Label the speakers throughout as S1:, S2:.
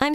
S1: I'm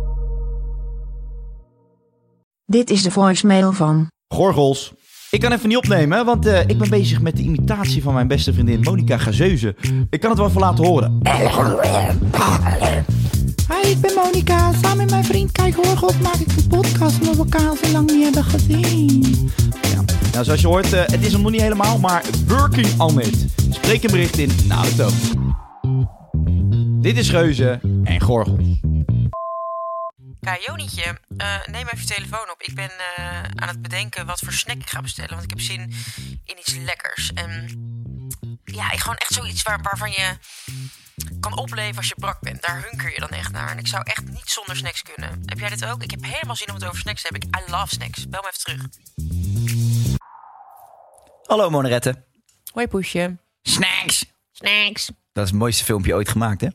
S2: Dit is de voicemail van.
S3: Gorgels. Ik kan even niet opnemen, hè, want eh, ik ben bezig met de imitatie van mijn beste vriendin Monica Gazeuze. Ik kan het wel even laten horen.
S4: Hi, ik ben Monika. Samen met mijn vriend Kijk Horgels maak ik een podcast omdat we elkaar zo lang niet hebben gezien.
S3: Nou, zoals je hoort, eh, het is hem nog niet helemaal, maar working on it. Spreek een bericht in de auto. Dit is Geuze en Gorgels.
S5: Kajonietje, eh neem even je telefoon op. Ik ben eh, aan het bedenken wat voor snack ik ga bestellen. Want ik heb zin in iets lekkers. En ja, ik gewoon echt zoiets waar, waarvan je kan opleven als je brak bent. Daar hunker je dan echt naar. En ik zou echt niet zonder snacks kunnen. Heb jij dit ook? Ik heb helemaal zin om het over snacks te hebben. Ik, I love snacks. Bel me even terug.
S3: Hallo Monerette.
S5: Hoi Poesje.
S3: Snacks.
S5: Snacks.
S3: Dat is het mooiste filmpje ooit gemaakt, hè?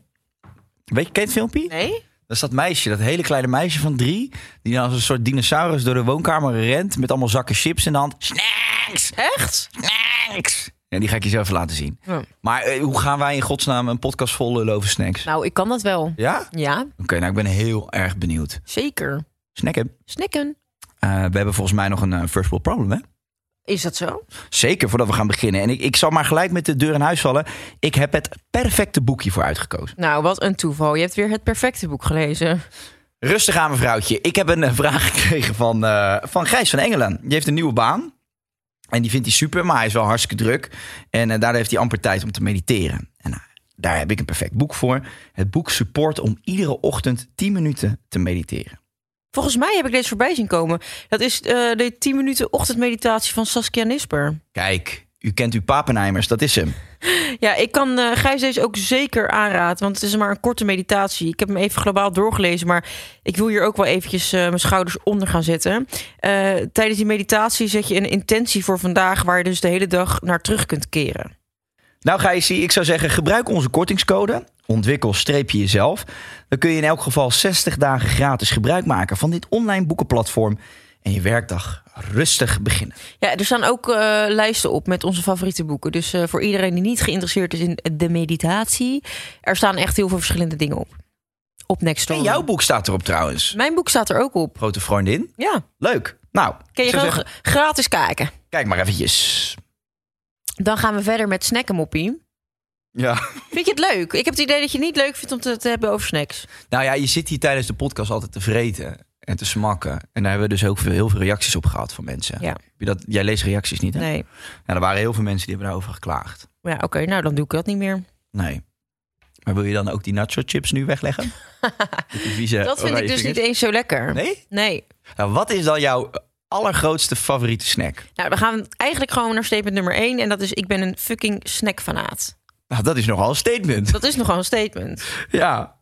S3: Weet je, ken je het filmpje?
S5: Nee?
S3: Dat is dat meisje, dat hele kleine meisje van drie. Die dan als een soort dinosaurus door de woonkamer rent. Met allemaal zakken chips in de hand. Snacks!
S5: Echt?
S3: Snacks! Ja, die ga ik je zo even laten zien.
S5: Ja.
S3: Maar eh, hoe gaan wij in godsnaam een podcast vol lullen over snacks?
S5: Nou, ik kan dat wel.
S3: Ja? Oké,
S5: Ja,
S3: nou ik ben heel erg benieuwd.
S5: zeker.
S3: Snacken.
S5: Snacken.
S3: Eh, we hebben volgens mij nog een eh, first world problem, hè?
S5: Is dat zo?
S3: Zeker, voordat we gaan beginnen. En ik, ik zal maar gelijk met de deur in huis vallen. Ik heb het perfecte boekje voor uitgekozen.
S5: Nou, wat een toeval. Je hebt weer het perfecte boek gelezen.
S3: Rustig aan, mevrouwtje. Ik heb een eh, vraag gekregen van, eh, van Gijs van Engelen. Die heeft een nieuwe baan. En die vindt hij super, maar hij is wel hartstikke druk. En eh, daardoor heeft hij amper tijd om te mediteren. En nou, daar heb ik een perfect boek voor. Het boek Support om iedere ochtend 10 minuten te mediteren.
S5: Volgens mij heb ik deze voorbij zien komen. Dat is eh, de 10 minuten ochtendmeditatie van Saskia Nisper.
S3: Kijk, u kent uw Papenheimers, dat is hem.
S5: Ja, ik kan eh, Gijs deze ook zeker aanraden. Want het is maar een korte meditatie. Ik heb hem even globaal doorgelezen. Maar ik wil hier ook wel eventjes eh, mijn schouders onder gaan zetten. Eh, tijdens die meditatie zet je een intentie voor vandaag... waar je dus de hele dag naar terug kunt keren.
S3: Nou Gijsie, ik zou zeggen gebruik onze kortingscode. Ontwikkel streepje jezelf. Dan kun je in elk geval 60 dagen gratis gebruik maken van dit online boekenplatform. En je werkdag rustig beginnen.
S5: Ja, er staan ook eh, lijsten op met onze favoriete boeken. Dus eh, voor iedereen die niet geïnteresseerd is in de meditatie... er staan echt heel veel verschillende dingen op. Op Next
S3: En
S5: Story.
S3: jouw boek staat erop trouwens.
S5: Mijn boek staat er ook op.
S3: Grote vriendin.
S5: Ja,
S3: Leuk. Nou,
S5: kun
S3: ik
S5: je
S3: zou
S5: gewoon
S3: zeggen,
S5: g- gratis kijken.
S3: kijk maar eventjes.
S5: Dan gaan we verder met snackenmoppie.
S3: Ja.
S5: Vind je het leuk? Ik heb het idee dat je het niet leuk vindt om te, te hebben over snacks.
S3: Nou ja, je zit hier tijdens de podcast altijd te vreten en te smakken. En daar hebben we dus ook veel, heel veel reacties op gehad van mensen.
S5: Ja.
S3: Heb je dat, jij leest reacties niet, hè?
S5: Nee.
S3: Nou, er waren heel veel mensen die hebben daarover geklaagd.
S5: Ja, oké, nou dan doe ik dat niet meer.
S3: Nee. Maar wil je dan ook die nacho chips nu wegleggen? Met die vieze
S5: dat vind ik
S3: oranje
S5: dus niet
S3: vingers?
S5: eens zo lekker.
S3: Nee?
S5: Nee.
S3: Nou, wat is dan jouw allergrootste favoriete snack?
S5: Nou, we gaan eigenlijk gewoon naar statement nummer 1. En dat is: ik ben een fucking snackfanaat.
S3: Nou, dat is nogal een statement.
S5: Dat is nogal een statement.
S3: Ja.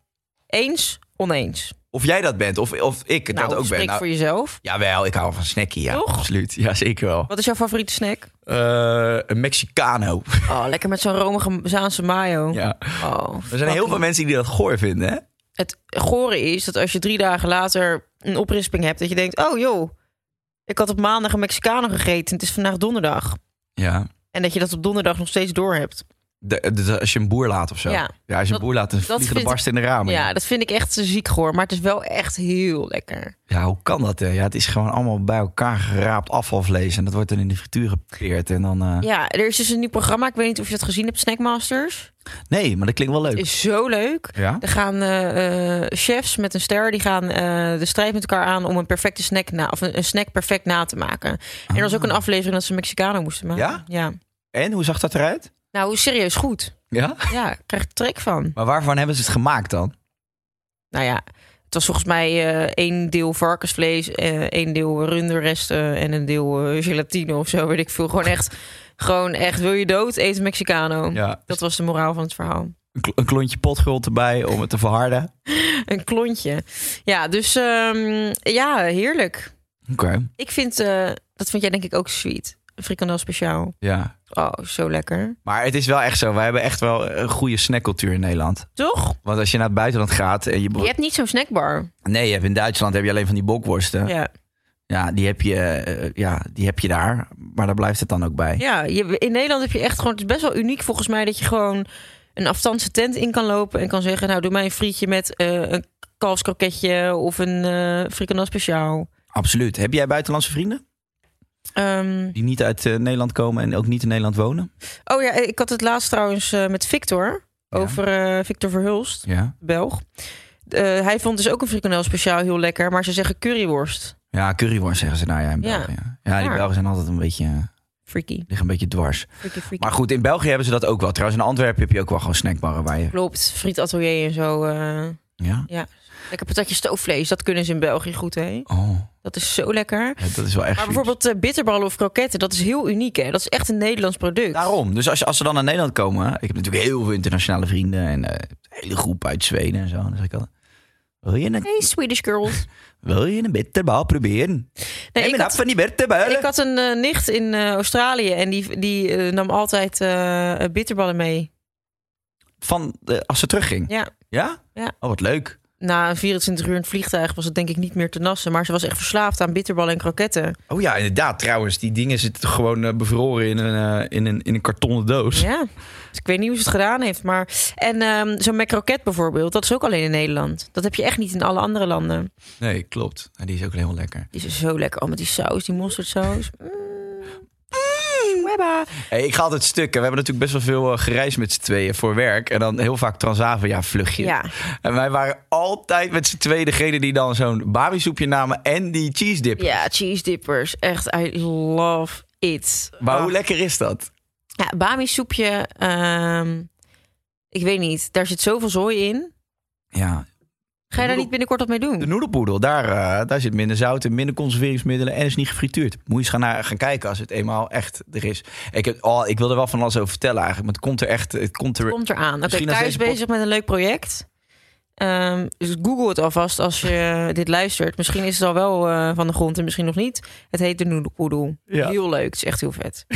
S5: Eens, oneens.
S3: Of jij dat bent, of, of ik
S5: nou,
S3: dat ook
S5: spreek
S3: ben. Nou,
S5: voor jezelf.
S3: Jawel, ik hou van snackie, ja.
S5: Toch?
S3: Absoluut, ja zeker wel.
S5: Wat is jouw favoriete snack?
S3: Eh, een Mexicano.
S5: Oh, lekker met zo'n romige Zaanse mayo.
S3: ja.
S5: Oh,
S3: Er zijn heel veel mensen die dat goor vinden, hè?
S5: het gore is dat als je drie dagen later een oprisping hebt, dat je denkt: oh joh, ik had op maandag een Mexicano gegeten. Het is vandaag donderdag.
S3: Ja. dus
S5: En dat je dat op donderdag nog steeds door hebt.
S6: de- de- als je een boer laat of zo.
S5: Ja.
S6: als je een
S5: Dat-
S6: boer laat, dan
S5: dat
S6: vliegen de
S5: vind-
S6: barsten in de
S3: Ah,
S6: ramen.
S5: Ja, dat vind ik echt zo ziek hoor. Maar het is wel echt heel lekker.
S3: Ja, hoe kan dat? Hè? Ja, het is gewoon allemaal bij elkaar geraapt afvalvlees. En dat wordt dan in de frituur gepeerd. En dan, eh,
S5: Ja, er is dus een nieuw programma. Ik weet niet of je dat gezien hebt. Snackmasters.
S3: Nee, maar dat klinkt wel leuk.
S5: Is zo leuk.
S3: Ja?
S5: Er gaan eh, eh, chefs met een ster, die gaan eh, de strijd met elkaar aan om een perfecte snack na, of een, een snack perfect na te maken. En er was ook een aflevering dat ze een Mexicano moesten maken.
S3: Ja? En, hoe zag dat eruit?
S5: Nou, serieus goed.
S3: Ja?
S5: Ja, ik krijg er trek van.
S3: Maar waarvan hebben ze het gemaakt dan?
S5: Nou ja, het was volgens mij eh, één deel varkensvlees, eh, één deel runderresten en een deel eh, gelatine of zo. Weet ik veel. Gewoon echt, gewoon echt, wil je dood, eet een Mexicano.
S3: Ja.
S5: Dat was de moraal van het verhaal.
S3: Een, kl- een klontje potgrond erbij om het te verharden.
S5: Een klontje. Ja, dus ehm, ja, heerlijk.
S3: Oké.
S5: Ik vind, eh, dat vind jij denk ik ook sweet. Een frikandel speciaal.
S3: Ja.
S5: Oh, zo lekker.
S3: Maar het is wel echt zo. Wij hebben echt wel een goede snackcultuur in Nederland.
S5: Toch?
S3: Want als je naar het buitenland gaat en je...
S5: Je hebt niet zo'n snackbar.
S3: Nee, je hebt in Duitsland heb je alleen van die bokworsten. Ja,
S5: Ja.
S3: die, heb je, eh, ja die heb je daar. Maar daar blijft het dan ook bij.
S5: Ja, je, in Nederland heb je echt gewoon... Het is best wel uniek volgens mij dat je gewoon een afstandse tent in kan lopen... en kan zeggen, nou doe mij een frietje met eh, een kalfskroketje of een eh frikandel speciaal.
S3: Absoluut. Heb jij buitenlandse vrienden?
S5: Ehm,
S3: Die niet uit eh, Nederland komen en ook niet in Nederland wonen?
S5: oh ja, ik had het laatst trouwens eh, met Victor...
S3: Ja.
S5: over eh, Victor Verhulst,
S3: Ja.
S5: Belg. Eh, hij vond dus ook een frikandel speciaal heel lekker... maar ze zeggen curryworst.
S3: Ja, curryworst zeggen ze nou ja in
S5: Ja.
S3: België. Ja, die
S5: Ja.
S3: Belgen zijn altijd een beetje, eh,
S5: Freaky,
S3: liggen een beetje dwars.
S5: freaky, freaky.
S3: Maar goed, in België hebben ze dat ook wel. Trouwens, in Antwerpen heb je ook wel gewoon snackbarren waar je...
S5: Klopt, frietatelier en zo. eh,
S3: Ja.
S5: ja. Lekker patatje stoofvlees, dat kunnen ze in België goed, hè?
S3: Oh,
S5: Dat is zo lekker.
S3: ja, dat is wel echt chic.
S5: Maar bijvoorbeeld eh, bitterballen of kroketten, dat is heel uniek, hè? Dat is echt een Nederlands product.
S3: Daarom. Dus als, je- als ze dan naar Nederland komen... Ik heb natuurlijk heel veel internationale vrienden. En eh, een hele groep uit Zweden en zo. En dan zeg ik altijd... Wil je een,
S5: Hey, Swedish girls.
S3: wil je een bitterbal proberen?
S5: Nee,
S3: Nee,
S5: ik,
S3: ik
S5: had,
S3: van die bitterballen.
S5: ik had een eh, nicht in eh, Australië en die, die eh, nam altijd eh, eh, bitterballen mee.
S3: Van eh, als ze terugging.
S5: Ja.
S3: Ja?
S5: Ja.
S3: Oh, wat leuk.
S5: Na 24 uur in het vliegtuig was het denk ik niet meer te nassen. Maar ze was echt verslaafd aan bitterballen en kroketten.
S3: Oh ja, inderdaad. Trouwens, die dingen zitten gewoon eh, bevroren in een, eh, in, een, in een kartonnen doos.
S5: Ja, dus ik weet niet hoe ze het gedaan heeft. Maar... En ehm, zo'n macroket bijvoorbeeld, dat is ook alleen in Nederland. Dat heb je echt niet in alle andere landen.
S3: Nee, klopt. En die is ook heel lekker.
S5: Die is zo lekker. Oh, met die saus, die mosterdsaus. Mm. Mm, webba.
S3: Hey, ik ga altijd stukken. We hebben natuurlijk best wel veel eh, gereisd met z'n tweeën voor werk. En dan heel vaak Transavia vluchtje.
S5: Ja.
S3: En wij waren altijd met z'n tweeën degene die dan zo'n babisoepje namen en die cheese dip.
S5: Ja, cheese dippers. Echt, I love it.
S3: Maar hoe lekker is dat?
S5: Ja, Bami soepje. ehm, ik weet niet. Daar zit zoveel zooi in.
S3: Ja,
S5: Ga je daar niet binnenkort wat mee
S3: de
S5: doen?
S3: noedelpoedel, daar, eh, daar zit minder zout en minder conserveringsmiddelen en is niet gefrituurd. Moet je eens gaan, naar, gaan kijken als het eenmaal echt er is. Ik, heb, oh, ik wil er wel van alles over vertellen eigenlijk, maar het komt er echt... Het komt er,
S5: Komt eraan. Oké,
S3: Misschien als
S5: Kai is
S3: deze
S5: bezig met een leuk project. Ehm, dus Google het alvast als je dit luistert. Misschien is het al wel eh, van de grond en misschien nog niet. Het heet de Noedelpoedel.
S3: Ja.
S5: Heel leuk. Het is echt heel vet.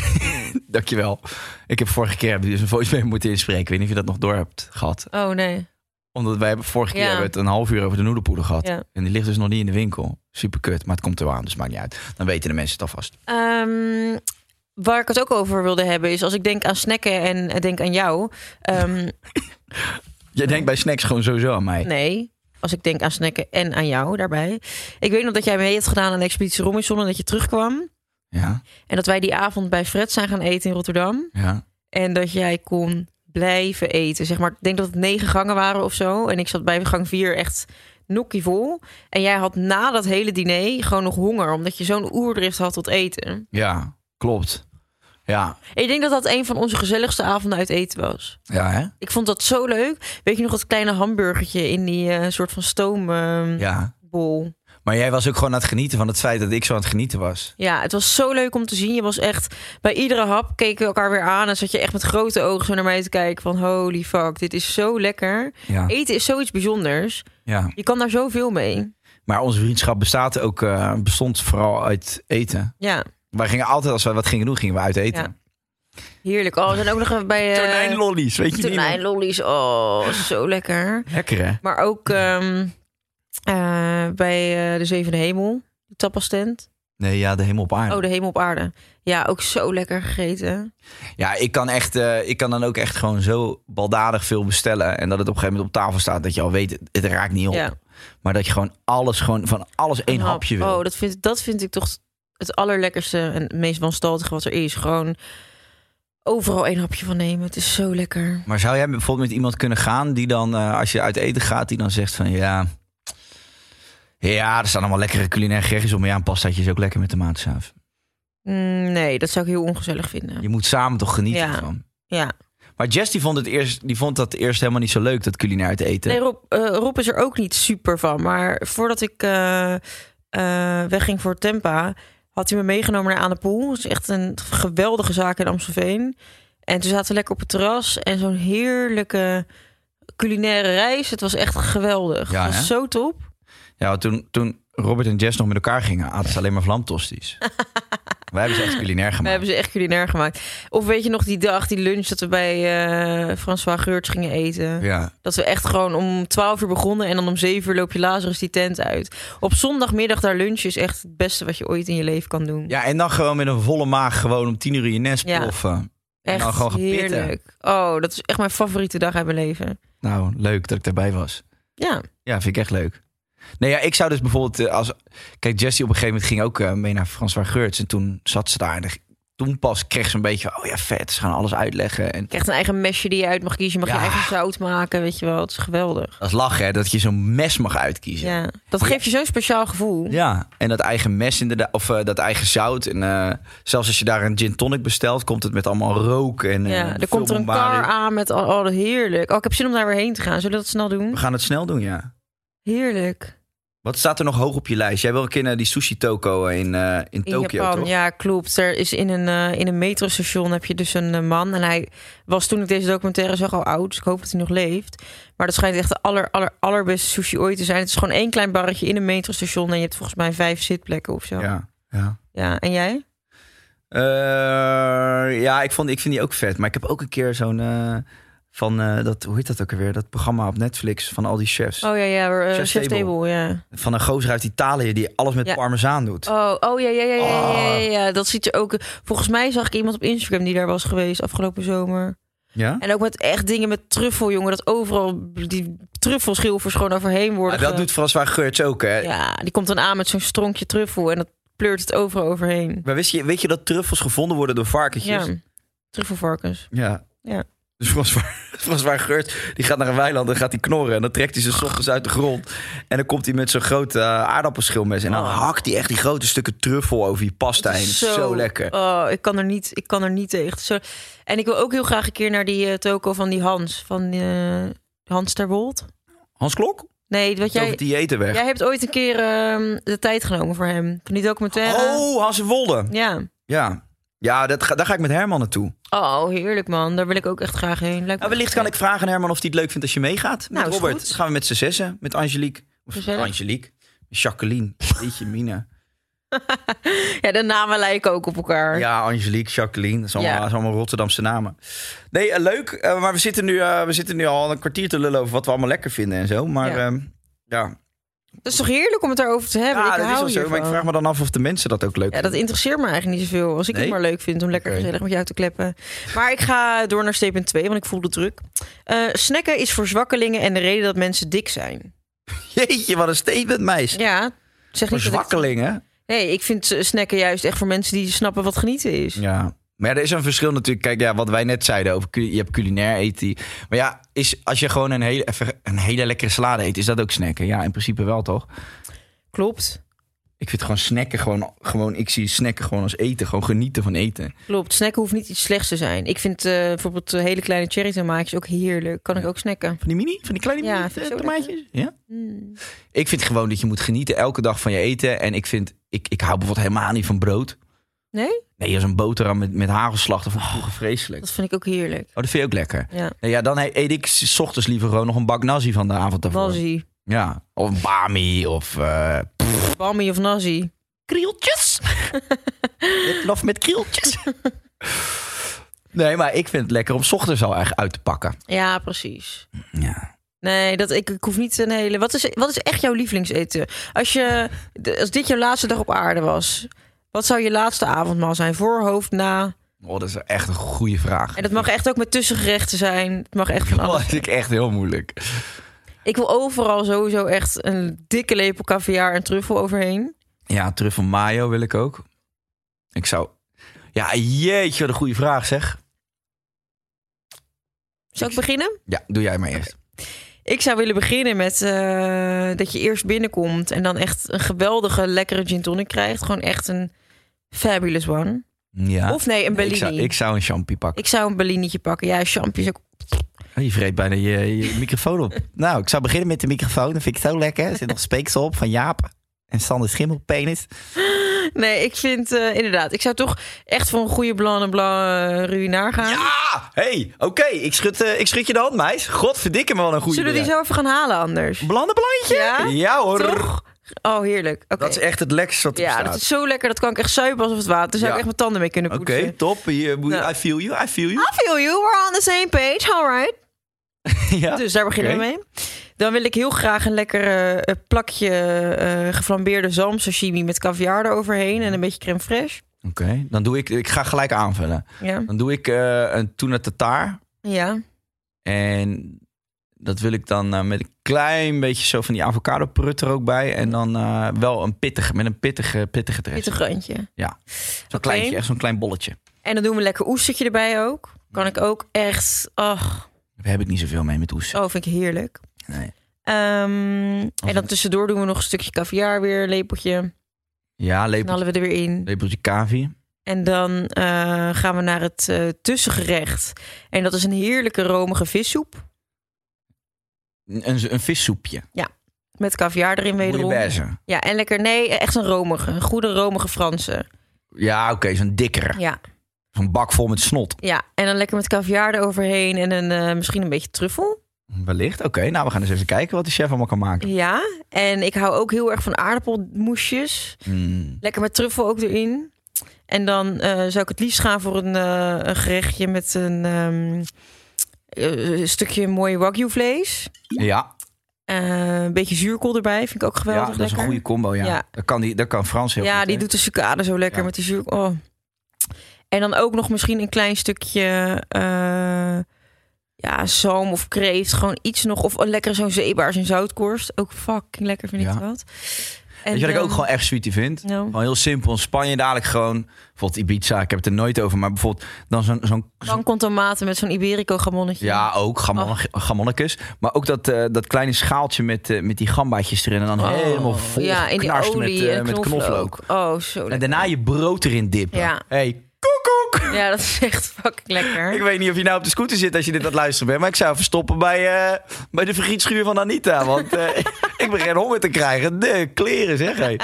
S3: Dankjewel. Ik heb vorige keer heb ik dus een voicemail moeten inspreken. Ik weet niet of je dat nog door hebt gehad.
S5: Oh nee.
S3: Omdat wij hebben- vorige keer
S5: Ja.
S3: hebben we het een half uur over de noedelpoeder gehad.
S5: Ja.
S3: En die ligt dus nog niet in de winkel. Super kut, maar het komt er wel aan, dus maakt niet uit. Dan weten de mensen het alvast.
S5: Ehm, waar ik het ook over wilde hebben is als ik denk aan snacken en eh, denk aan jou. ehm,
S3: Jij denkt bij snacks gewoon sowieso aan mij.
S5: Nee. Als ik denk aan snacken en aan jou daarbij. Ik weet nog dat jij mee hebt gedaan aan Expeditie Robinson en dat je terugkwam.
S3: Ja,
S5: En dat wij die avond bij Fred zijn gaan eten in Rotterdam.
S3: ja.
S5: En dat jij kon blijven eten. Zeg maar, ik denk dat het negen gangen waren of zo. En ik zat bij gang vier echt nokkie vol. En jij had na dat hele diner gewoon nog honger. Omdat je zo'n oerdrift had tot eten.
S3: Ja, klopt. Ja,
S5: En ik denk dat dat een van onze gezelligste avonden uit eten was.
S3: ja hè?
S5: Ik vond dat zo leuk. Weet je nog dat kleine hamburgertje in die eh, soort van stoombol?
S3: Ja. Maar jij was ook gewoon aan het genieten van het feit dat ik zo aan het genieten was.
S5: Ja, het was zo leuk om te zien. Je was echt bij iedere hap keken we elkaar weer aan en zat je echt met grote ogen zo naar mij te kijken van holy fuck, dit is zo lekker.
S3: Ja.
S5: Eten is zoiets bijzonders.
S3: Ja.
S5: Je kan daar zoveel mee.
S3: Maar onze vriendschap bestaat ook, eh, bestond vooral uit eten.
S5: Ja,
S3: Wij gingen altijd, als wij wat gingen doen, gingen we uit eten.
S5: Ja. heerlijk. Oh, we zijn ook nog even bij eh,
S3: Tonijnlollies, weet je niet?
S5: tonijnlollies. Oh, zo lekker.
S3: Lekker hè?
S5: Maar ook ehm, eh, bij eh, de Zevende Hemel, de tapas tent.
S3: Nee, ja, de hemel op aarde.
S5: Oh, de hemel op aarde. Ja, ook zo lekker gegeten.
S3: Ja, ik kan, echt, eh, ik kan dan ook echt gewoon zo baldadig veel bestellen. En dat het op een gegeven moment op tafel staat. Dat je al weet, het raakt niet op.
S5: Ja.
S3: Maar dat je gewoon alles, gewoon van alles één
S5: Een hap.
S3: hapje wil.
S5: Oh, dat vind, dat vind ik toch het allerlekkerste en het meest wanstaltige wat er is. Gewoon overal één hapje van nemen. Het is zo lekker.
S3: Maar zou jij bijvoorbeeld met iemand kunnen gaan die dan, eh, als je uit eten gaat, die dan zegt van ja. Ja, er staan allemaal lekkere culinaire gerechtjes om. Maar ja, een pastaatje is ook lekker met tomatensaus.
S5: Mm, Nee, dat zou ik heel ongezellig vinden.
S3: Je moet samen toch genieten
S5: Ja.
S3: van.
S5: Ja.
S3: Maar Jess die vond, het eerst, die vond dat eerst helemaal niet zo leuk, dat culinair uit eten.
S5: Nee, Rob, eh, Rob is er ook niet super van. Maar voordat ik eh, eh, wegging voor Tempa, had hij me meegenomen naar Aan de Poel. Dat is echt een geweldige zaak in Amstelveen. En toen zaten we lekker op het terras en zo'n heerlijke culinaire reis. Het was echt geweldig.
S3: Ja,
S5: het
S3: hè?
S5: was zo top.
S3: Ja, want toen, toen Robert en Jess nog met elkaar gingen, aten ze alleen maar vlamtosties. Wij hebben ze echt culinair
S5: We
S3: gemaakt.
S5: hebben ze echt culinair gemaakt. Of weet je nog die dag, die lunch dat we bij eh, François Geurts gingen eten?
S3: Ja.
S5: Dat we echt gewoon om 12 uur begonnen en dan om 7 uur loop je Lazarus die tent uit. Op zondagmiddag daar lunchen is echt het beste wat je ooit in je leven kan doen.
S3: ja, en dan gewoon met een volle maag gewoon om tien uur in je nest
S5: Ja.
S3: ploffen. en
S5: echt
S3: dan gewoon gepitten.
S5: heerlijk. Oh, dat is echt mijn favoriete dag uit mijn leven.
S3: Nou, leuk dat ik daarbij was.
S5: Ja,
S3: Ja, vind ik echt leuk. Nee, ja, ik zou dus bijvoorbeeld eh, als... Kijk, Jessie op een gegeven moment ging ook eh, mee naar François Geurts. En toen zat ze daar. En de- toen pas kreeg ze een beetje... Oh ja, vet. Ze gaan alles uitleggen. En
S5: je krijgt een eigen mesje die je uit mag kiezen. Je mag
S3: Ja.
S5: je eigen zout maken, weet je wel. Het is geweldig.
S3: dat is lachen, hè. Dat je zo'n mes mag uitkiezen.
S5: Ja, dat geeft je zo'n speciaal gevoel.
S3: Ja, en dat eigen mes inderdaad, of eh, dat eigen zout. En eh, zelfs als je daar een gin tonic bestelt, komt het met allemaal rook. En, eh,
S5: Ja, er
S3: veel
S5: komt er een
S3: bombarie.
S5: kar aan met al, al heerlijk. Oh, ik heb zin om daar weer heen te gaan. Zullen we dat snel doen?
S3: We gaan het snel doen, ja.
S5: Heerlijk.
S3: Wat staat er nog hoog op je lijst? Jij wil een keer naar die sushi toko in, eh, in
S5: In
S3: Tokio,
S5: Japan,
S3: toch?
S5: ja, klopt. Er is in een, eh, in een metrostation heb je dus een eh, man. En hij was toen ik deze documentaire zag al oud. Dus ik hoop dat hij nog leeft. Maar dat schijnt echt de aller, aller, allerbeste sushi ooit te zijn. Het is gewoon één klein barretje in een metrostation. En je hebt volgens mij vijf zitplekken of zo. Ja,
S3: ja. ja.
S5: en jij?
S3: Eh, ja, ik, vond, ik vind die ook vet. Maar ik heb ook een keer zo'n... eh, van, eh, dat, hoe heet dat ook alweer? Dat programma op Netflix van al die chefs.
S5: Oh ja, ja. eh,
S3: Chef's
S5: Chef's
S3: Table.
S5: table. ja.
S3: Van een gozer uit Italië die alles met
S5: Ja.
S3: parmezaan doet.
S5: Oh, oh ja, ja, ja,
S3: Ah.
S5: ja, ja, ja, ja. Dat ziet er ook... Volgens mij zag ik iemand op Instagram die daar was geweest afgelopen zomer.
S3: Ja?
S5: En ook met echt dingen met truffel, jongen. Dat overal die truffelschilfers gewoon overheen worden.
S3: Maar dat
S5: ge-
S3: doet François Geurts ook, hè?
S5: Ja, die komt dan aan met zo'n stronkje truffel en dat pleurt het overal overheen.
S3: Maar wist je, weet je dat truffels gevonden worden door varkentjes?
S5: Ja, truffelvarkens.
S3: Ja.
S5: Ja.
S3: Dus François, François Geurts, die gaat naar een weiland en gaat hij knorren. En dan trekt hij ze 's ochtends uit de grond. En dan komt hij met zo'n groot eh, aardappelschilmes. En dan
S5: Oh.
S3: hakt hij echt die grote stukken truffel over je pasta heen. Zo, lekker.
S5: Oh, ik kan er niet, ik kan er niet tegen. Zo, en ik wil ook heel graag een keer naar die eh, toko van die Hans, van eh, Hans ter Wold.
S3: Hans Klok?
S5: Nee, wat
S3: Jij... Over
S5: jij,
S3: diëten weg.
S5: jij hebt ooit een keer ehm, de tijd genomen voor hem. Van die documentaire.
S3: Oh, Hans en Wolde.
S5: Ja.
S3: Ja. Ja, dat ga, daar ga ik met Herman naartoe.
S5: Oh, heerlijk man. Daar wil ik ook echt graag heen. Lijkt me
S3: Nou, wellicht
S5: echt
S3: kan ik vragen aan Herman of hij het leuk vindt als je meegaat. Met
S5: Nou, is
S3: Robert.
S5: goed.
S3: Dan gaan we met z'n zessen. Met Angelique. Of
S5: Gezellig.
S3: Angelique. Jacqueline. Jeetje, Mina.
S5: Ja, de namen lijken ook op elkaar.
S3: Ja, Angelique, Jacqueline. Dat is allemaal,
S5: Ja.
S3: dat is allemaal Rotterdamse namen. Nee, eh, leuk. eh, maar we zitten, nu, eh, we zitten nu al een kwartier te lullen over wat we allemaal lekker vinden en zo. Maar ehm,
S5: Ja.
S3: ja, ja.
S5: Dat is toch heerlijk om het daarover te hebben?
S3: Ja,
S5: ik
S3: dat is
S5: hou
S3: wel zo. Maar ik
S5: hiervan.
S3: vraag me dan af of de mensen dat ook leuk
S5: Ja, dat
S3: vinden.
S5: interesseert me eigenlijk niet zoveel. Als ik
S3: Nee?
S5: het maar leuk vind om lekker
S3: Oké.
S5: gezellig met jou te kleppen. Maar ik ga door naar statement 2, want ik voel de druk. Eh, snacken is voor zwakkelingen en de reden dat mensen dik zijn.
S3: Jeetje, wat een statement, meis.
S5: Ja, zeg
S3: Voor
S5: niet dat ik-
S3: zwakkelingen.
S5: Nee, ik vind eh, snacken juist echt voor mensen die snappen wat genieten is.
S3: Ja. Maar ja, er is een verschil natuurlijk. Kijk, ja, wat wij net zeiden over cu- je hebt culinair eten. Maar ja, is, als je gewoon een hele, even een hele lekkere salade eet, is dat ook snacken? Ja, in principe wel, toch?
S5: Klopt,
S3: Ik vind gewoon snacken gewoon, gewoon... Ik zie snacken gewoon als eten. Gewoon genieten van eten.
S5: klopt. Snacken hoeft niet iets slechts te zijn. Ik vind eh, bijvoorbeeld eh, hele kleine cherry tomaatjes ook heerlijk. Kan ik ook snacken.
S3: Van die mini? Van die kleine
S5: Ja,
S3: mini
S5: vind
S3: eh,
S5: ik zo Mm.
S3: tomaatjes? Ja? Ik vind gewoon dat je moet genieten elke dag van je eten. En ik vind, ik, ik hou bijvoorbeeld helemaal niet van brood.
S5: Nee?
S3: Nee, als een boterham met, met hagelslag, dat vond ik vroeger vreselijk.
S5: Dat vind ik ook heerlijk.
S3: Oh, dat vind je ook lekker.
S5: Ja.
S3: Nee, ja, dan he- eet ik s- 's ochtends liever gewoon nog een bak nazi van de avond daarvoor.
S5: Nazi.
S3: Ja, of een bami, of eh
S5: Bammy of nazi.
S3: krieltjes. Lof met krieltjes. nee, maar ik vind het lekker om 's ochtends al echt uit te pakken.
S5: Ja, precies.
S3: Ja.
S5: Nee, dat, ik, ik hoef niet een hele. Wat is, wat is echt jouw lievelingseten? Als, je, de- als dit jouw laatste dag op aarde was, Wat zou je laatste avondmaal zijn? Voor, hoofd, na?
S3: Oh, dat is echt een goede vraag.
S5: En dat mag echt ook met tussengerechten zijn. Het mag echt van
S3: Dat
S5: alles.
S3: vind ik echt heel moeilijk.
S5: Ik wil overal sowieso echt een dikke lepel kaviaar en truffel overheen.
S3: Ja, truffel mayo wil ik ook. Ik zou... Ja, jeetje, wat een goede vraag zeg.
S5: Zou ik beginnen?
S3: Ja, doe jij maar eerst.
S5: Ik zou willen beginnen met eh, dat je eerst binnenkomt en dan echt een geweldige, lekkere gin tonic krijgt. Gewoon echt een fabulous one.
S3: Ja.
S5: Of nee, een
S3: ik,
S5: Bellini.
S3: zou, ik zou een champie pakken.
S5: Ik zou een Bellinietje pakken. Ja, champies ook.
S3: Oh, je vreet bijna je, je microfoon op. nou, ik zou beginnen met de microfoon. Dat vind ik zo lekker. Er zit nog speeksel op van Jaap. En Sander Schimmelpenis.
S5: Nee, ik vind eh, inderdaad. Ik zou toch echt voor een goede blanc en blanc eh, ruïnaar gaan.
S3: Ja! hey, oké. Ik, schud, eh, ik schud je de hand, meis. Godverdikke me wel een goede
S5: Zullen we die zo even gaan halen anders?
S3: Blande plantje?
S5: Ja?
S3: hoor.
S5: Toch? Oh, heerlijk. Oké.
S3: Dat is echt het lekkerste wat er
S5: Ja, dat
S3: bestaat.
S5: is zo lekker. Dat kan ik echt zuipen alsof het water. Daar zou
S3: Ja.
S5: ik echt mijn tanden mee kunnen
S3: Oké,
S5: poetsen.
S3: top. Hier, moet-
S5: Ja.
S3: I feel you, I feel you.
S5: I feel you. We're on the same page. All right.
S3: ja.
S5: Dus daar beginnen
S3: Oké.
S5: we mee. Dan wil ik heel graag een lekker eh, plakje eh, geflambeerde zalm sashimi met caviar eroverheen en een beetje crème fraîche.
S3: Oké, dan doe ik... Ik ga gelijk aanvullen.
S5: Ja.
S3: Dan doe ik eh een tuna tartaar.
S5: ja.
S3: En dat wil ik dan eh, met een klein beetje zo van die avocado prut er ook bij. En dan eh, wel een pittige, met een pittige, pittige dressing.
S5: Pittig randje.
S3: Ja, zo'n
S5: Oké.
S3: kleintje, echt zo'n klein bolletje.
S5: En dan doen we een lekker oestertje erbij ook. Kan ik ook echt... Ach,
S3: Daar heb ik niet zoveel mee met oes.
S5: oh, vind ik heerlijk.
S3: Nee.
S5: Ehm, en dan tussendoor doen we nog een stukje caviar weer, een lepeltje.
S3: Ja, lepeltje,
S5: Knallen we er weer in.
S3: lepeltje kavi.
S5: En dan eh, gaan we naar het eh, tussengerecht. En dat is een heerlijke romige vissoep.
S3: Een, een vissoepje.
S5: Met caviar erin wederom.
S3: Bouillabaisse.
S5: Ja, en lekker. Nee, echt een romige. Een goede romige Franse.
S3: Ja, oké, zo'n dikkere.
S5: Ja.
S3: Zo'n bak vol met snot.
S5: ja. En dan lekker met caviar eroverheen en een, eh, misschien een beetje truffel.
S3: Wellicht. Oké, nou we gaan eens even kijken wat de chef allemaal kan maken.
S5: Ja. En ik hou ook heel erg van aardappelmoesjes.
S3: Mm.
S5: Lekker met truffel ook erin. En dan eh, zou ik het liefst gaan voor een, eh, een gerechtje met een ehm, eh, stukje mooi wagyu vlees. Eh,
S3: Ja,
S5: een beetje zuurkool erbij, vind ik ook
S3: ja
S5: geweldig
S3: dat is
S5: lekker.
S3: een goede combo. Ja.
S5: Ja.
S3: Dat, kan die, dat kan Frans heel
S5: ja,
S3: goed.
S5: die
S3: hè?
S5: doet de sucade zo lekker
S3: Ja.
S5: met die zuur. Oh. En dan ook nog misschien een klein stukje eh, ja, zalm of kreeft. Gewoon iets nog. Of een lekker zo'n zeebaars en zoutkorst. Ook fucking lekker vind ik
S3: Ja.
S5: het wat. En
S3: Weet je wat ik
S5: dan-
S3: ook gewoon echt sweetie vind?
S5: Nou.
S3: Gewoon heel simpel. In Spanje dadelijk gewoon... Bijvoorbeeld Ibiza, ik heb het er nooit over. Maar bijvoorbeeld dan zo'n... zo'n zo'n-
S5: Dan komt tomaten met zo'n Iberico gamonnetje.
S3: ja, ook gamon- gamonnekes. Maar ook dat, eh, dat kleine schaaltje met, eh, met die gambaatjes erin. En dan
S5: Oh.
S3: helemaal vol
S5: Ja, in die
S3: geknarst
S5: olie
S3: met, eh,
S5: en
S3: met knoflook.
S5: Oh, zo
S3: En
S5: lekker.
S3: daarna je brood erin dippen.
S5: Ja.
S3: hey, koekoek!
S5: Ja, dat is echt fucking lekker.
S3: Ik weet niet of je nou op de scooter zit als je dit aan het luisteren bent. Maar ik zou even stoppen bij, eh, bij de vergietschuur van Anita. Want eh, ik begin honger te krijgen. De kleren zeg. Hey.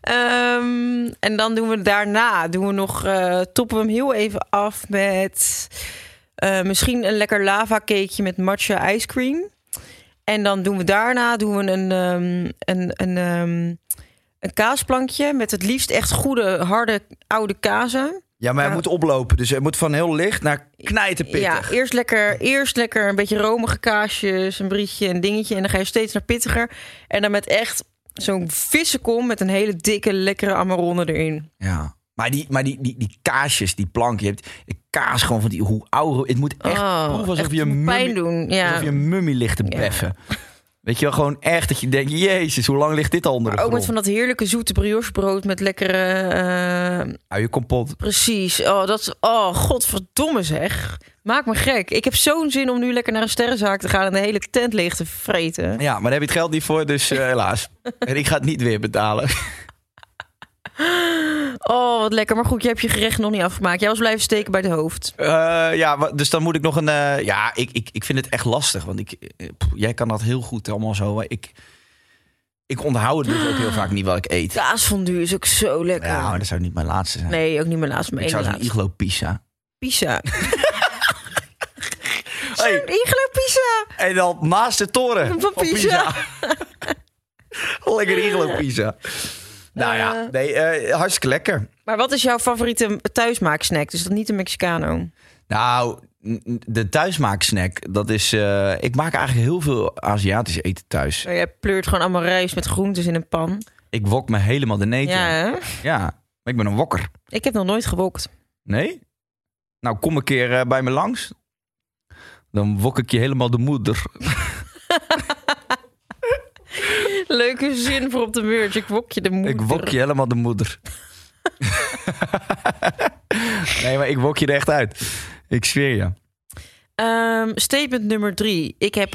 S5: Ehm, en dan doen we daarna doen we nog, eh, toppen we hem heel even af met eh, misschien een lekker lava cakeje met matcha ijscream. En dan doen we daarna doen we een, ehm, een, een, ehm, een kaasplankje met het liefst echt goede, harde, oude kazen.
S3: Ja, maar hij
S5: Ja.
S3: moet oplopen. Dus hij moet van heel licht naar knijterpittig.
S5: Ja, eerst lekker, eerst lekker een beetje romige kaasjes, een brietje, een dingetje. En dan ga je steeds naar pittiger. En dan met echt zo'n vissenkom met een hele dikke, lekkere amarone erin.
S3: Ja. Maar, die, maar die, die, die kaasjes, die plank. Je hebt de kaas gewoon van die hoe oude... Het moet echt
S5: Oh,
S3: proeven alsof
S5: echt
S3: je een
S5: pijn
S3: mummie-
S5: doen, ja.
S3: alsof je een mummie ligt te beffen. Weet je wel, gewoon echt dat je denkt... Jezus, hoe lang ligt dit al onder de
S5: Maar ook met
S3: grond?
S5: van dat heerlijke zoete briochebrood met lekkere... eh,
S3: Hou je kompot.
S5: precies. Oh, dat, oh, godverdomme zeg. Maak me gek. Ik heb zo'n zin om nu lekker naar een sterrenzaak te gaan... en de hele tent leeg te vreten.
S3: Ja, maar daar heb je het geld niet voor, dus eh, helaas. En ik ga het niet weer betalen.
S5: Oh, wat lekker. Maar goed, je hebt je gerecht nog niet afgemaakt. Jij was blijven steken bij het hoofd.
S3: Eh, ja, wa- dus dan moet ik nog een. eh, ja, ik, ik, ik vind het echt lastig. Want ik, eh, pff, jij kan dat heel goed allemaal zo. maar ik, ik onthoud het dus ook heel vaak niet wat ik eet.
S5: Kaasfondue is ook zo lekker.
S3: Ja, maar dat zou niet mijn laatste zijn.
S5: nee, ook niet mijn laatste. Mijn
S3: Nou, ik zou
S5: ene
S3: zo'n
S5: laatste.
S3: iglo pizza.
S5: Pizza. Zo'n
S3: Hey,
S5: iglo pizza.
S3: en dan naast de toren
S5: Van pizza.
S3: Lekker iglo pizza. Nou ja,
S5: Eh.
S3: nee, eh, hartstikke lekker.
S5: Maar wat is jouw favoriete thuismaaksnack? Dus dat niet de Mexicano.
S3: Nou, n- n- de thuismaaksnack, dat is... eh, ik maak eigenlijk heel veel Aziatisch eten thuis.
S5: Jij pleurt gewoon allemaal rijst met groentes in een pan.
S3: Ik wok me helemaal de neten.
S5: Ja,
S3: Ja.
S5: hè?
S3: maar ik ben een wokker.
S5: ik heb nog nooit gewokt.
S3: Nee? Nou, kom een keer eh, bij me langs. Dan wok ik je helemaal de moeder.
S5: Leuke zin voor op de merch. Ik wok je de moeder.
S3: Ik wok je helemaal de moeder. nee, maar ik wok je er echt uit. Ik zweer je.
S5: Ehm, statement nummer drie. Ik heb...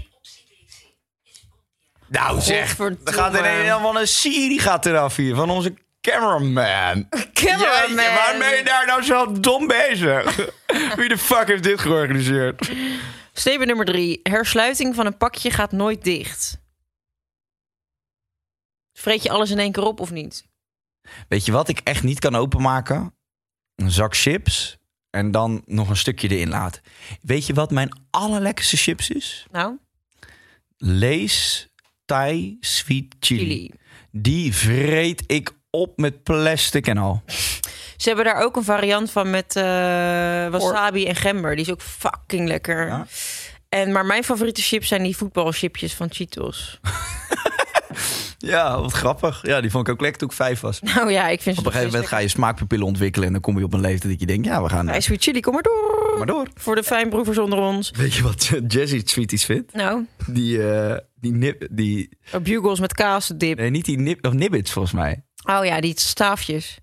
S3: Nou zeg, er
S5: Godverdomme.
S3: gaat ineens helemaal een Siri gaat eraf hier van onze cameraman.
S5: Cameraman.
S3: Jeetje, waarom ben je daar nou zo dom bezig? Wie de fuck heeft dit georganiseerd?
S5: Statement nummer drie. Hersluiting van een pakje gaat nooit dicht. Vreet je alles in één keer op of niet?
S3: Weet je wat ik echt niet kan openmaken? Een zak chips en dan nog een stukje erin laten. Weet je wat mijn allerlekkerste chips is?
S5: Nou,
S3: Lees Thai Sweet
S5: jullie.
S3: Die vreet ik op met plastic en al.
S5: Ze hebben daar ook een variant van met eh, wasabi en gember. Die is ook fucking lekker.
S3: Ja.
S5: En, maar mijn favoriete chips zijn die voetbalchipjes van Cheetos.
S3: Ja, wat grappig. Ja, die vond ik ook lekker toen ik vijf was.
S5: Nou ja, ik vind ze
S3: Op een gegeven moment ga je smaakpapillen ontwikkelen en dan kom je op een leeftijd dat je denkt, ja, we gaan
S5: Hey, sweet chili, kom maar door.
S3: maar door.
S5: Voor de fijnproevers onder ons.
S3: Weet je wat Jazzy Sweeties vindt?
S5: Nou,
S3: Die, eh, die nip, die,
S5: bugles met kaasdip.
S3: nee, niet die nip, of nibbits volgens mij.
S5: Oh ja, die staafjes.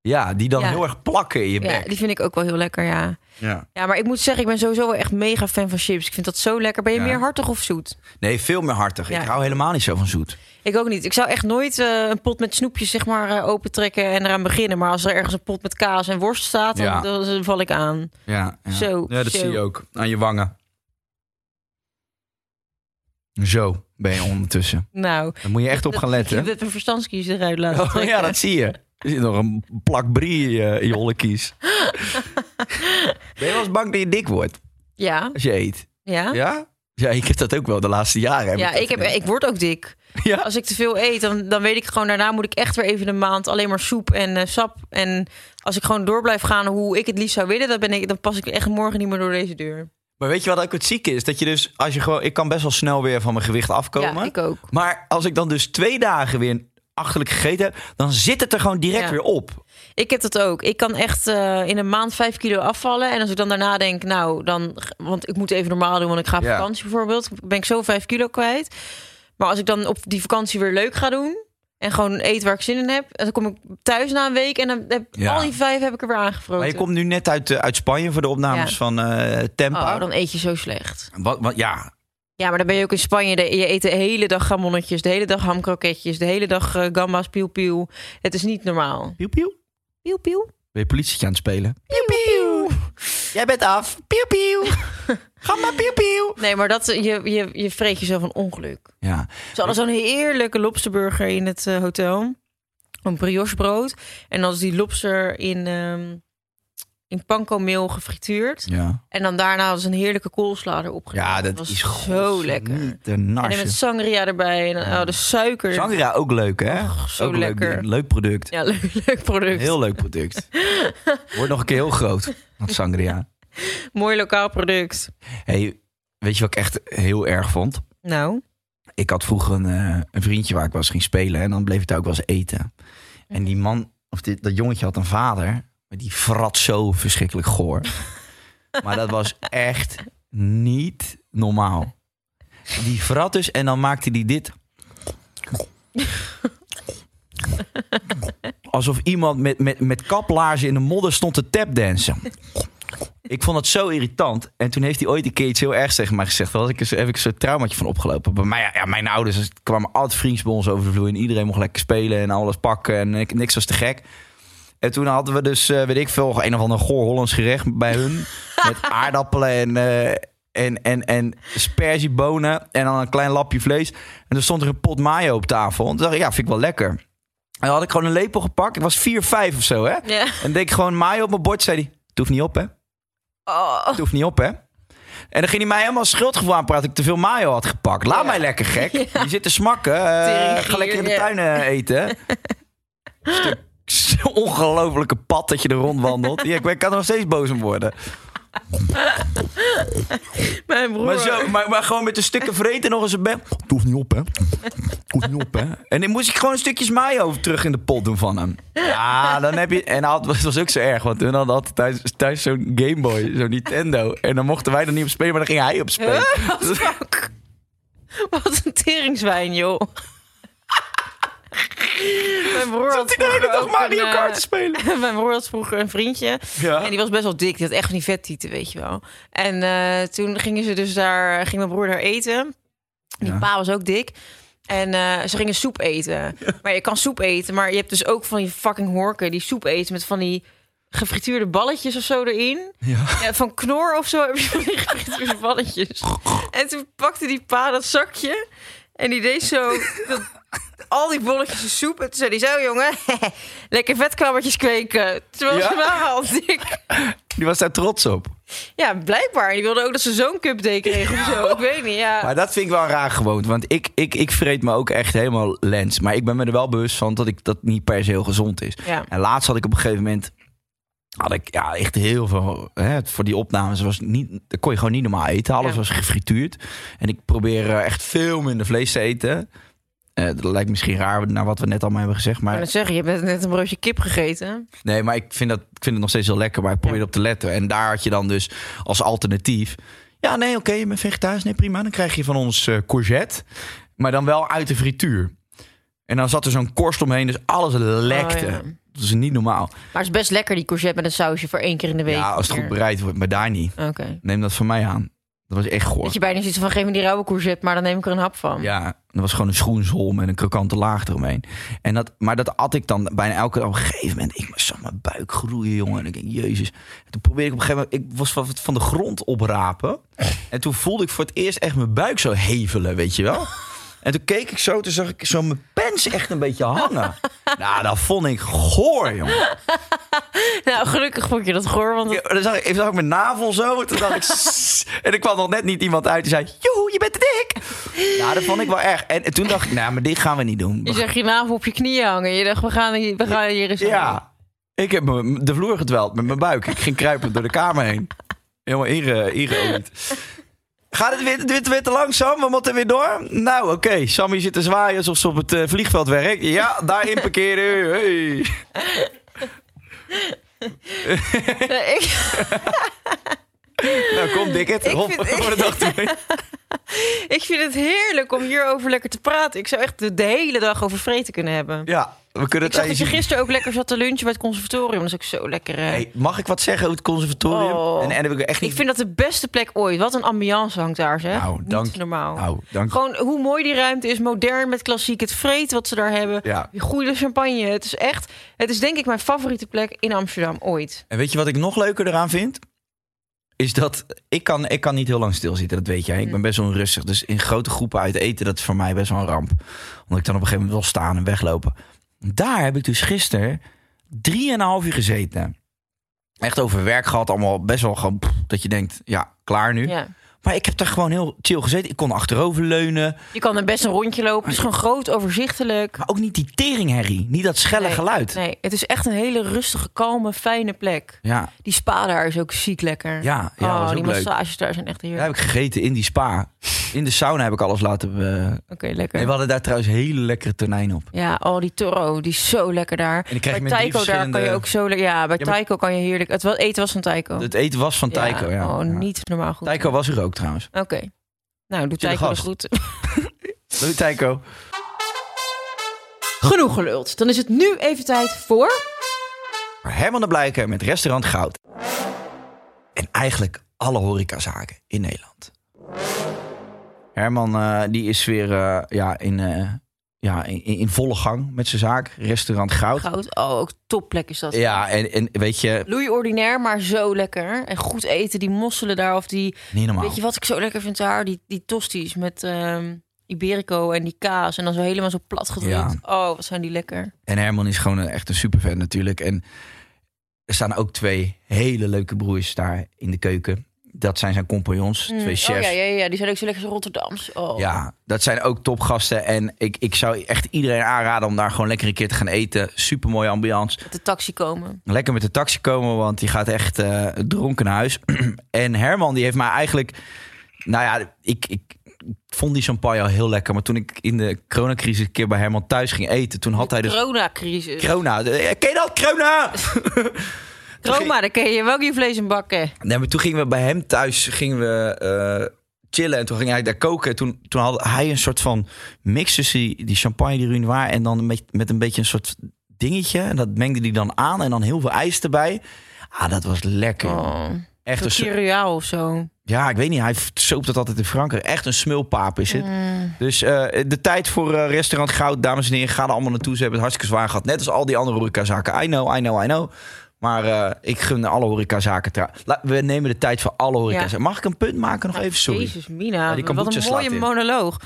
S3: Ja, die dan
S5: Ja.
S3: heel erg plakken in je
S5: Ja,
S3: bek.
S5: die vind ik ook wel heel lekker, ja.
S3: Ja.
S5: Ja, maar ik moet zeggen, ik ben sowieso wel echt mega fan van chips. Ik vind dat zo lekker. Ben je
S3: Ja.
S5: meer hartig of zoet?
S3: Nee, veel meer hartig.
S5: Ja.
S3: Ik hou helemaal niet zo van zoet.
S5: Ik ook niet. Ik zou echt nooit eh, een pot met snoepjes zeg maar eh, opentrekken en eraan beginnen. Maar als er ergens een pot met kaas en worst staat, dan,
S3: Ja.
S5: dan, dan val ik aan.
S3: Ja, ja.
S5: Zo,
S3: ja dat
S5: zo.
S3: zie je ook aan je wangen. Zo ben je ondertussen.
S5: Nou,
S3: Daar moet je echt op gaan
S5: je
S3: letten.
S5: hebt een verstandskies eruit laten
S3: Oh,
S5: trekken.
S3: ja, dat zie je. Er zit nog een plak brie in je, in je holle kies. Ben je wel eens bang dat je dik wordt
S5: Ja,
S3: als je eet?
S5: ja.
S3: Ja? Ja, ik heb dat ook wel de laatste jaren. heb
S5: Ja,
S3: dat
S5: ik, heb,
S3: gedaan.
S5: ik word ook dik.
S3: Ja?
S5: Als ik te veel eet, dan, dan weet ik gewoon daarna moet ik echt weer even een maand alleen maar soep en eh, sap. En als ik gewoon door blijf gaan hoe ik het liefst zou willen, dan, ben ik, dan pas ik echt morgen niet meer door deze deur.
S3: Maar weet je wat ook het zieke is? Dat je dus, als je gewoon... Ik kan best wel snel weer van mijn gewicht afkomen.
S5: Ja, ik ook.
S3: Maar als ik dan dus twee dagen weer achterlijk gegeten heb... dan zit het er gewoon direct
S5: Ja.
S3: weer op.
S5: Ik heb dat ook. Ik kan echt eh, in een maand vijf kilo afvallen. En als ik dan daarna denk, nou, dan, want ik moet even normaal doen, want ik ga op
S3: Ja.
S5: vakantie bijvoorbeeld, ben ik zo vijf kilo kwijt. Maar als ik dan op die vakantie weer leuk ga doen en gewoon eet waar ik zin in heb, en dan kom ik thuis na een week en dan heb
S3: Ja.
S5: al die vijf heb ik er weer aangevroten.
S3: Maar je komt nu net uit, eh, uit Spanje voor de opnames
S5: Ja.
S3: van eh Tempa.
S5: Oh, dan eet je zo slecht.
S3: wat, wat, ja,
S5: Ja, maar dan ben je ook in Spanje. de- Je eet de hele dag gamonnetjes, de hele dag hamkroketjes, de hele dag eh, gamba's, piel piel. Het is niet normaal.
S3: pieuw pieuw.
S5: Piel piel.
S3: Ben je politietje aan het spelen?
S5: Piel piel.
S3: Jij bent af. Pieuw pieuw. Ga maar pieuw pieuw.
S5: Nee, maar dat, je, je, je vreet jezelf een ongeluk.
S3: Ja.
S5: Ze hadden zo'n heerlijke lobsterburger in het eh, hotel. Een briochebrood. En dan is die lobster in, ehm in panko-meel gefrituurd.
S3: Ja.
S5: En dan daarna hadden ze een heerlijke koolsla erop gedaan.
S3: Ja, dat
S5: was
S3: is
S5: zo lekker.
S3: De
S5: En dan
S3: narsje.
S5: met sangria erbij. En dan, oh, de suiker.
S3: Sangria ook leuk, hè?
S5: Oh, zo
S3: ook leuk-
S5: lekker.
S3: Leuk, product.
S5: Ja, leuk, leuk product.
S3: Heel leuk product. Wordt nog een keer heel groot, dat sangria.
S5: Mooi lokaal product.
S3: Hey, weet je wat ik echt heel erg vond?
S5: Nou,
S3: Ik had vroeger een, eh, een vriendje waar ik wel eens ging spelen. En dan bleef ik daar ook wel eens eten. En die man, of dit, dat jongetje had een vader. Maar die vrat zo verschrikkelijk goor. maar dat was echt niet normaal. Die vrat dus en dan maakte hij dit. Alsof iemand met, met, met kaplaarzen in de modder stond te tapdansen. Ik vond dat zo irritant. En toen heeft hij ooit een keer iets heel ergs tegen mij gezegd. Daar was ik, een- heb ik een soort traumaatje van opgelopen. Bij mij, ja, mijn ouders kwamen altijd vriendjes bij ons over de vloer. En iedereen mocht lekker spelen en alles pakken. En ik- niks was te gek. En toen hadden we dus, eh, weet ik veel, een of ander goor Hollands gerecht bij hun. met aardappelen en, eh, en, en, en sperziebonen. En dan een klein lapje vlees. En toen stond er een pot mayo op tafel. En toen dacht ik, ja, vind ik wel lekker. En dan had ik gewoon een lepel gepakt. Ik was 4, 5 of zo, hè.
S5: ja.
S3: En deed ik gewoon mayo op mijn bord. Zei hij, het hoeft niet op, hè.
S5: Oh,
S3: Het hoeft niet op, hè? En dan ging hij mij helemaal schuldgevoel aanpraten dat ik te veel mayo had gepakt. Laat mij lekker gek. Je zit te smakken. eh,
S5: Teringgier,
S3: ga lekker in de
S5: ja.
S3: tuin eh, eten. Stuk ongelofelijke pad dat je er rondwandelt. Ja, ik ben- ik kan er nog steeds boos om worden.
S5: Mijn broer.
S3: Maar, zo, maar, maar gewoon met een stukken vreten nog eens een bek. Het hoeft niet op, hè? Het hoeft niet op, hè? En dan moest ik gewoon stukjes mayo terug in de pot doen van hem. Ja, dan heb je... En hij had, het was ook zo erg, want toen hadden altijd thuis, thuis zo'n Game Boy, zo'n Nintendo. En dan mochten wij er niet op spelen, maar dan ging hij op spelen.
S5: Wat een teringswijn, joh. Mijn broer had
S3: Zat ik de hele
S5: vroeger
S3: dag
S5: ook
S3: Mario
S5: een,
S3: Kart
S5: eh,
S3: te spelen?
S5: Mijn broer had vroeger een vriendje.
S3: Ja.
S5: En die was best wel dik. Die had echt van die vettieten, weet je wel. En eh, toen gingen ze dus daar, ging mijn broer daar eten. Die pa was ook dik. En eh, ze gingen soep eten. Maar je kan soep eten, maar je hebt dus ook van die fucking horken die soep eten met van die gefrituurde balletjes of zo erin. Ja, van knor of zo heb je van die gefrituurde balletjes. En toen pakte die pa dat zakje en die deed zo dat, al die bolletjes in soep. En toen zei hij zo, jongen, lekker vetkrabbertjes kweken. Terwijl
S3: Ja?
S5: ze waren al dik.
S3: Die was daar trots op.
S5: Ja, blijkbaar. Die wilde ook dat ze zo'n cupdate kregen of zo. Ik weet niet, ja.
S3: Maar dat vind ik wel raar gewoon. Want ik, ik, ik vreet me ook echt helemaal lens. Maar ik ben me er wel bewust van dat ik dat niet per se heel gezond is.
S5: Ja.
S3: En laatst had ik op een gegeven moment... Had ik ja, echt heel veel... Hè, voor die opnames was niet, dat kon je gewoon niet normaal eten. Alles
S5: Ja.
S3: was gefrituurd. En ik probeer eh, echt veel minder vlees te eten. Eh, dat lijkt misschien raar naar wat we net allemaal hebben gezegd.
S5: Ik
S3: Maar
S5: kan het zeggen, je hebt net een broodje kip gegeten.
S3: Nee, maar ik vind, dat, ik vind het nog steeds heel lekker. Maar ik probeer op te letten. En daar had je dan dus als alternatief... Ja, nee, oké, je bent vegetarisch. Nee, prima. Dan krijg je van ons eh, courgette. Maar dan wel uit de frituur. En dan zat er zo'n korst omheen. Dus alles lekte.
S5: Oh, ja.
S3: Dat is niet normaal.
S5: Maar het is best lekker, die courgette met een sausje voor één keer in de week.
S3: Ja, als het goed bereid wordt. Maar daar niet.
S5: Oké.
S3: Neem dat van mij aan. Dat was echt goor.
S5: Dat je bijna zoiets van, geef me die rauwe courgette, maar dan neem ik er een hap van.
S3: Ja, dat was gewoon een schoensel met een krokante laag eromheen. En dat, maar dat at ik dan bijna elke dag. Op een gegeven moment, ik zag mijn buik groeien, jongen. En ik denk, jezus. En toen probeerde ik op een gegeven moment, ik was van, van de grond oprapen. En toen voelde ik voor het eerst echt mijn buik zo hevelen, weet je wel. En toen keek ik zo, toen zag ik zo mijn pens echt een beetje hangen. Nou, dat vond ik goor, jongen.
S5: Nou, gelukkig vond je dat goor, want...
S3: Ja, Dan zag ik, dan zag ik mijn navel zo, en toen dacht ik... "Sss." En er kwam nog net niet iemand uit die zei... Joe, je bent te dik! Nou, dat vond ik wel erg. En, en toen dacht ik, nou, maar dit gaan we niet doen. We
S5: Je zag je navel op je knieën hangen. Je dacht, we gaan hier, we gaan hier eens hangen.
S3: Ja. Ik heb me- de vloer gedweld met mijn buik. Ik ging kruipen door de kamer heen. Helemaal inge- ingeolied. Gaat het weer, het weer- weer te lang, Sam? We moeten weer door? Nou, oké. Sammy zit te zwaaien alsof ze op het eh, vliegveld werkt. Ja, daarin parkeren. Hey.
S5: Nee, ik,
S3: Nou, kom, Dickert.
S5: Ik
S3: Rob,
S5: vind-
S3: voor de dag ermee.
S5: ik vind het heerlijk om hierover lekker te praten. Ik zou echt de, de hele dag over vreten kunnen hebben.
S3: Ja, we kunnen het
S5: Ik zag
S3: aan je
S5: dat je
S3: zien.
S5: gisteren ook lekker zat te lunchen bij het conservatorium. Dat is ook zo lekker. eh.
S3: Hey, mag ik wat zeggen over het conservatorium?
S5: Oh.
S3: En, en heb ik echt niet...
S5: Ik vind dat de beste plek ooit. Wat een ambiance hangt daar, zeg.
S3: Nou,
S5: Niet
S3: dank-
S5: normaal.
S3: nou, dank-
S5: Gewoon hoe mooi die ruimte is. Modern met klassiek. Het vreet wat ze daar hebben.
S3: Ja.
S5: Die goede champagne. Het is echt... Het is denk ik mijn favoriete plek in Amsterdam ooit.
S3: En weet je wat ik nog leuker eraan vind? Is dat ik kan, ik kan niet heel lang stilzitten, dat weet jij. Ik ben
S5: Mm.
S3: best wel onrustig. Dus in grote groepen uit eten, dat is voor mij best wel een ramp. Omdat ik dan op een gegeven moment wil staan en weglopen. Daar heb ik dus gisteren drieënhalf uur gezeten. Echt over werk gehad, allemaal best wel gewoon pff, dat je denkt, ja, klaar nu.
S5: Ja.
S3: Maar ik heb daar gewoon heel chill gezeten. Ik kon achteroverleunen.
S5: Je kan er best een rondje lopen. Het is gewoon groot, overzichtelijk.
S3: Maar ook niet die teringherrie, niet dat schelle
S5: Nee,
S3: geluid.
S5: Nee, het is echt een hele rustige, kalme, fijne plek.
S3: Ja,
S5: Die spa daar is ook ziek lekker.
S3: Ja, ja, was
S5: oh,
S3: ook
S5: die
S3: leuk.
S5: massages daar zijn echt
S3: daar
S5: heerlijk.
S3: heb ik gegeten in die spa. In de sauna heb ik alles laten eh,
S5: Oké, lekker.
S3: Nee, we hadden daar trouwens hele lekkere tonijn op.
S5: Ja, al die Toro, die is zo lekker daar.
S3: dan krijg je
S5: bij
S3: met
S5: Taiko
S3: drie
S5: daar kan je
S3: verschillende-
S5: ook zo lekker... Ja, bij
S3: Ja, maar-
S5: Taiko kan je heerlijk... Het wel, eten was van Taiko.
S3: Het eten was van Taiko, ja.
S5: Oh,
S3: Ja.
S5: niet normaal goed.
S3: Taiko was er ook trouwens.
S5: Oké. Nou,
S3: Chille
S5: doe Taiko dus
S3: gast.
S5: goed.
S3: Doei Taiko.
S5: Genoeg geluld. Dan is het nu even tijd voor...
S3: Herman de Blijker met restaurant Goud. En eigenlijk alle horecazaken in Nederland. Herman eh, die is weer eh, ja, in, eh, ja, in, in- in volle gang met zijn zaak. Restaurant Goud.
S5: Goud. Oh, ook topplek is dat.
S3: Ja, en, en weet je,
S5: Louis ordinair, maar zo lekker. En goed eten, die mosselen daar of die...
S3: niet normaal.
S5: Weet je wat ik zo lekker vind daar? Die, die tosties met ehm, Iberico en die kaas. En dan zo helemaal zo plat gedrukt. Oh, wat zijn die lekker.
S3: En Herman is gewoon een, echt een superfan natuurlijk. En er staan ook twee hele leuke broers daar in de keuken. Dat zijn zijn compagnons, twee chefs.
S5: Oh, ja, ja, ja, die zijn ook zo lekker Rotterdams. Oh.
S3: Ja, dat zijn ook topgasten. En ik, ik zou echt iedereen aanraden om daar gewoon lekker een keer te gaan eten. Super mooie ambiance.
S5: Met de taxi komen.
S3: Lekker met de taxi komen, want die gaat echt eh, dronken naar huis. en Herman, die heeft mij eigenlijk. Nou ja, ik, ik vond die champagne al heel lekker. Maar toen ik in de coronacrisis een keer bij Herman thuis ging eten, toen had hij dus.
S5: Corona-crisis.
S3: Corona. Eh, Ken je dat, corona?
S5: Chroma, daar kun je wel geen vlees in bakken.
S3: Nee, maar toen gingen we bij hem thuis gingen we, eh, chillen. En toen ging hij daar koken. En Toen, toen had hij een soort van mix tussen die, die champagne die Runoir... en dan een beetje- met een beetje een soort dingetje. En dat mengde hij dan aan. En dan heel veel ijs erbij. Ah, dat was lekker.
S5: Oh.
S3: Echt
S5: Zo'n
S3: een, s-
S5: cereal of zo.
S3: ja, ik weet niet. Hij soopt dat altijd in Frankrijk. Echt een smulpaap is het. Dus eh, de tijd voor eh, restaurant Goud, dames en heren. Ga er allemaal naartoe. Ze hebben het hartstikke zwaar gehad. Net als al die andere horecazaken. I know, I know, I know. Maar eh, ik gun alle horecazaken trouw. La- We nemen de tijd voor alle horecazaken. Mag ik een punt maken nog even? Sorry.
S5: Jezus, Mina.
S3: Ja, die
S5: wat
S3: kombucha
S5: een
S3: slaat
S5: mooie
S3: in.
S5: monoloog.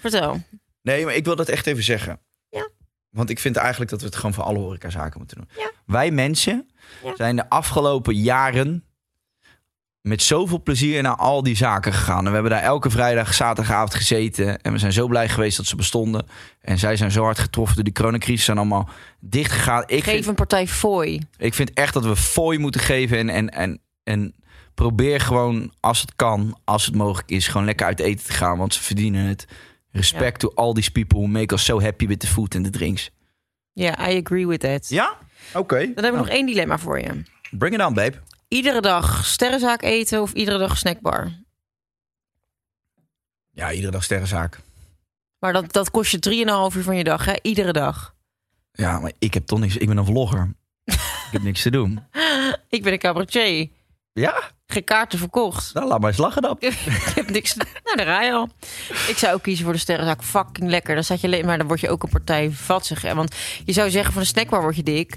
S5: Vertel.
S3: Nee, maar ik wil dat echt even zeggen.
S5: Ja.
S3: Want ik vind eigenlijk dat we het gewoon voor alle horecazaken moeten doen.
S5: Ja.
S3: Wij mensen zijn de afgelopen jaren met zoveel plezier naar al die zaken gegaan. En we hebben daar elke vrijdag, zaterdagavond gezeten. En we zijn zo blij geweest dat ze bestonden. En zij zijn zo hard getroffen door die coronacrisis. Zijn allemaal dichtgegaan. Ik
S5: Geef
S3: vind,
S5: een partij fooi.
S3: ik vind echt dat we fooi moeten geven. En, en, en, en probeer gewoon, als het kan, als het mogelijk is... gewoon lekker uit eten te gaan, want ze verdienen het. Respect to all these people who make us so happy with the food and the drinks.
S5: Ja, I agree with that.
S3: Ja? Oh. Oké. Nou,
S5: Dan heb ik nog één dilemma voor je.
S3: Bring it on, babe.
S5: Iedere dag sterrenzaak eten of iedere dag snackbar?
S3: Ja, iedere dag sterrenzaak.
S5: Maar dat, dat kost je 3,5 uur van je dag, hè? Iedere dag.
S3: Ja, maar ik heb toch niks... Ik ben een vlogger. ik heb niks te doen.
S5: Ik ben een cabaretier.
S3: Ja?
S5: Geen kaarten verkocht.
S3: Nou, laat maar eens lachen dan.
S5: ik heb niks. Nou, daar ga je al. Ik zou ook kiezen voor de sterrenzaak. Fucking lekker. Dan zat je alleen maar, dan word je ook een partij vatsig. Hè? Want je zou zeggen van een snackbar word je dik.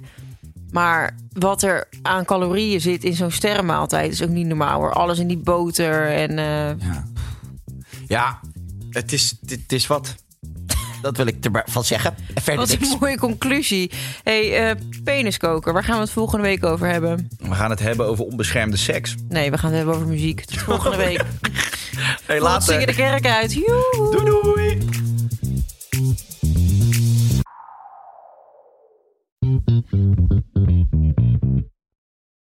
S5: Maar wat er aan calorieën zit in zo'n sterrenmaaltijd is ook niet normaal hoor. Alles in die boter en. eh,
S3: Ja, ja het, is, het, is wat. Dat wil ik ervan zeggen. Verder
S5: Wat een mooie conclusie. hey, eh, peniskoker, waar gaan we het volgende week over hebben?
S3: We gaan het hebben over onbeschermde seks.
S5: Nee, we gaan het hebben over muziek. Tot volgende week.
S3: Hey,
S5: Laat zingen de kerk uit. Joehoe.
S3: doei! doei.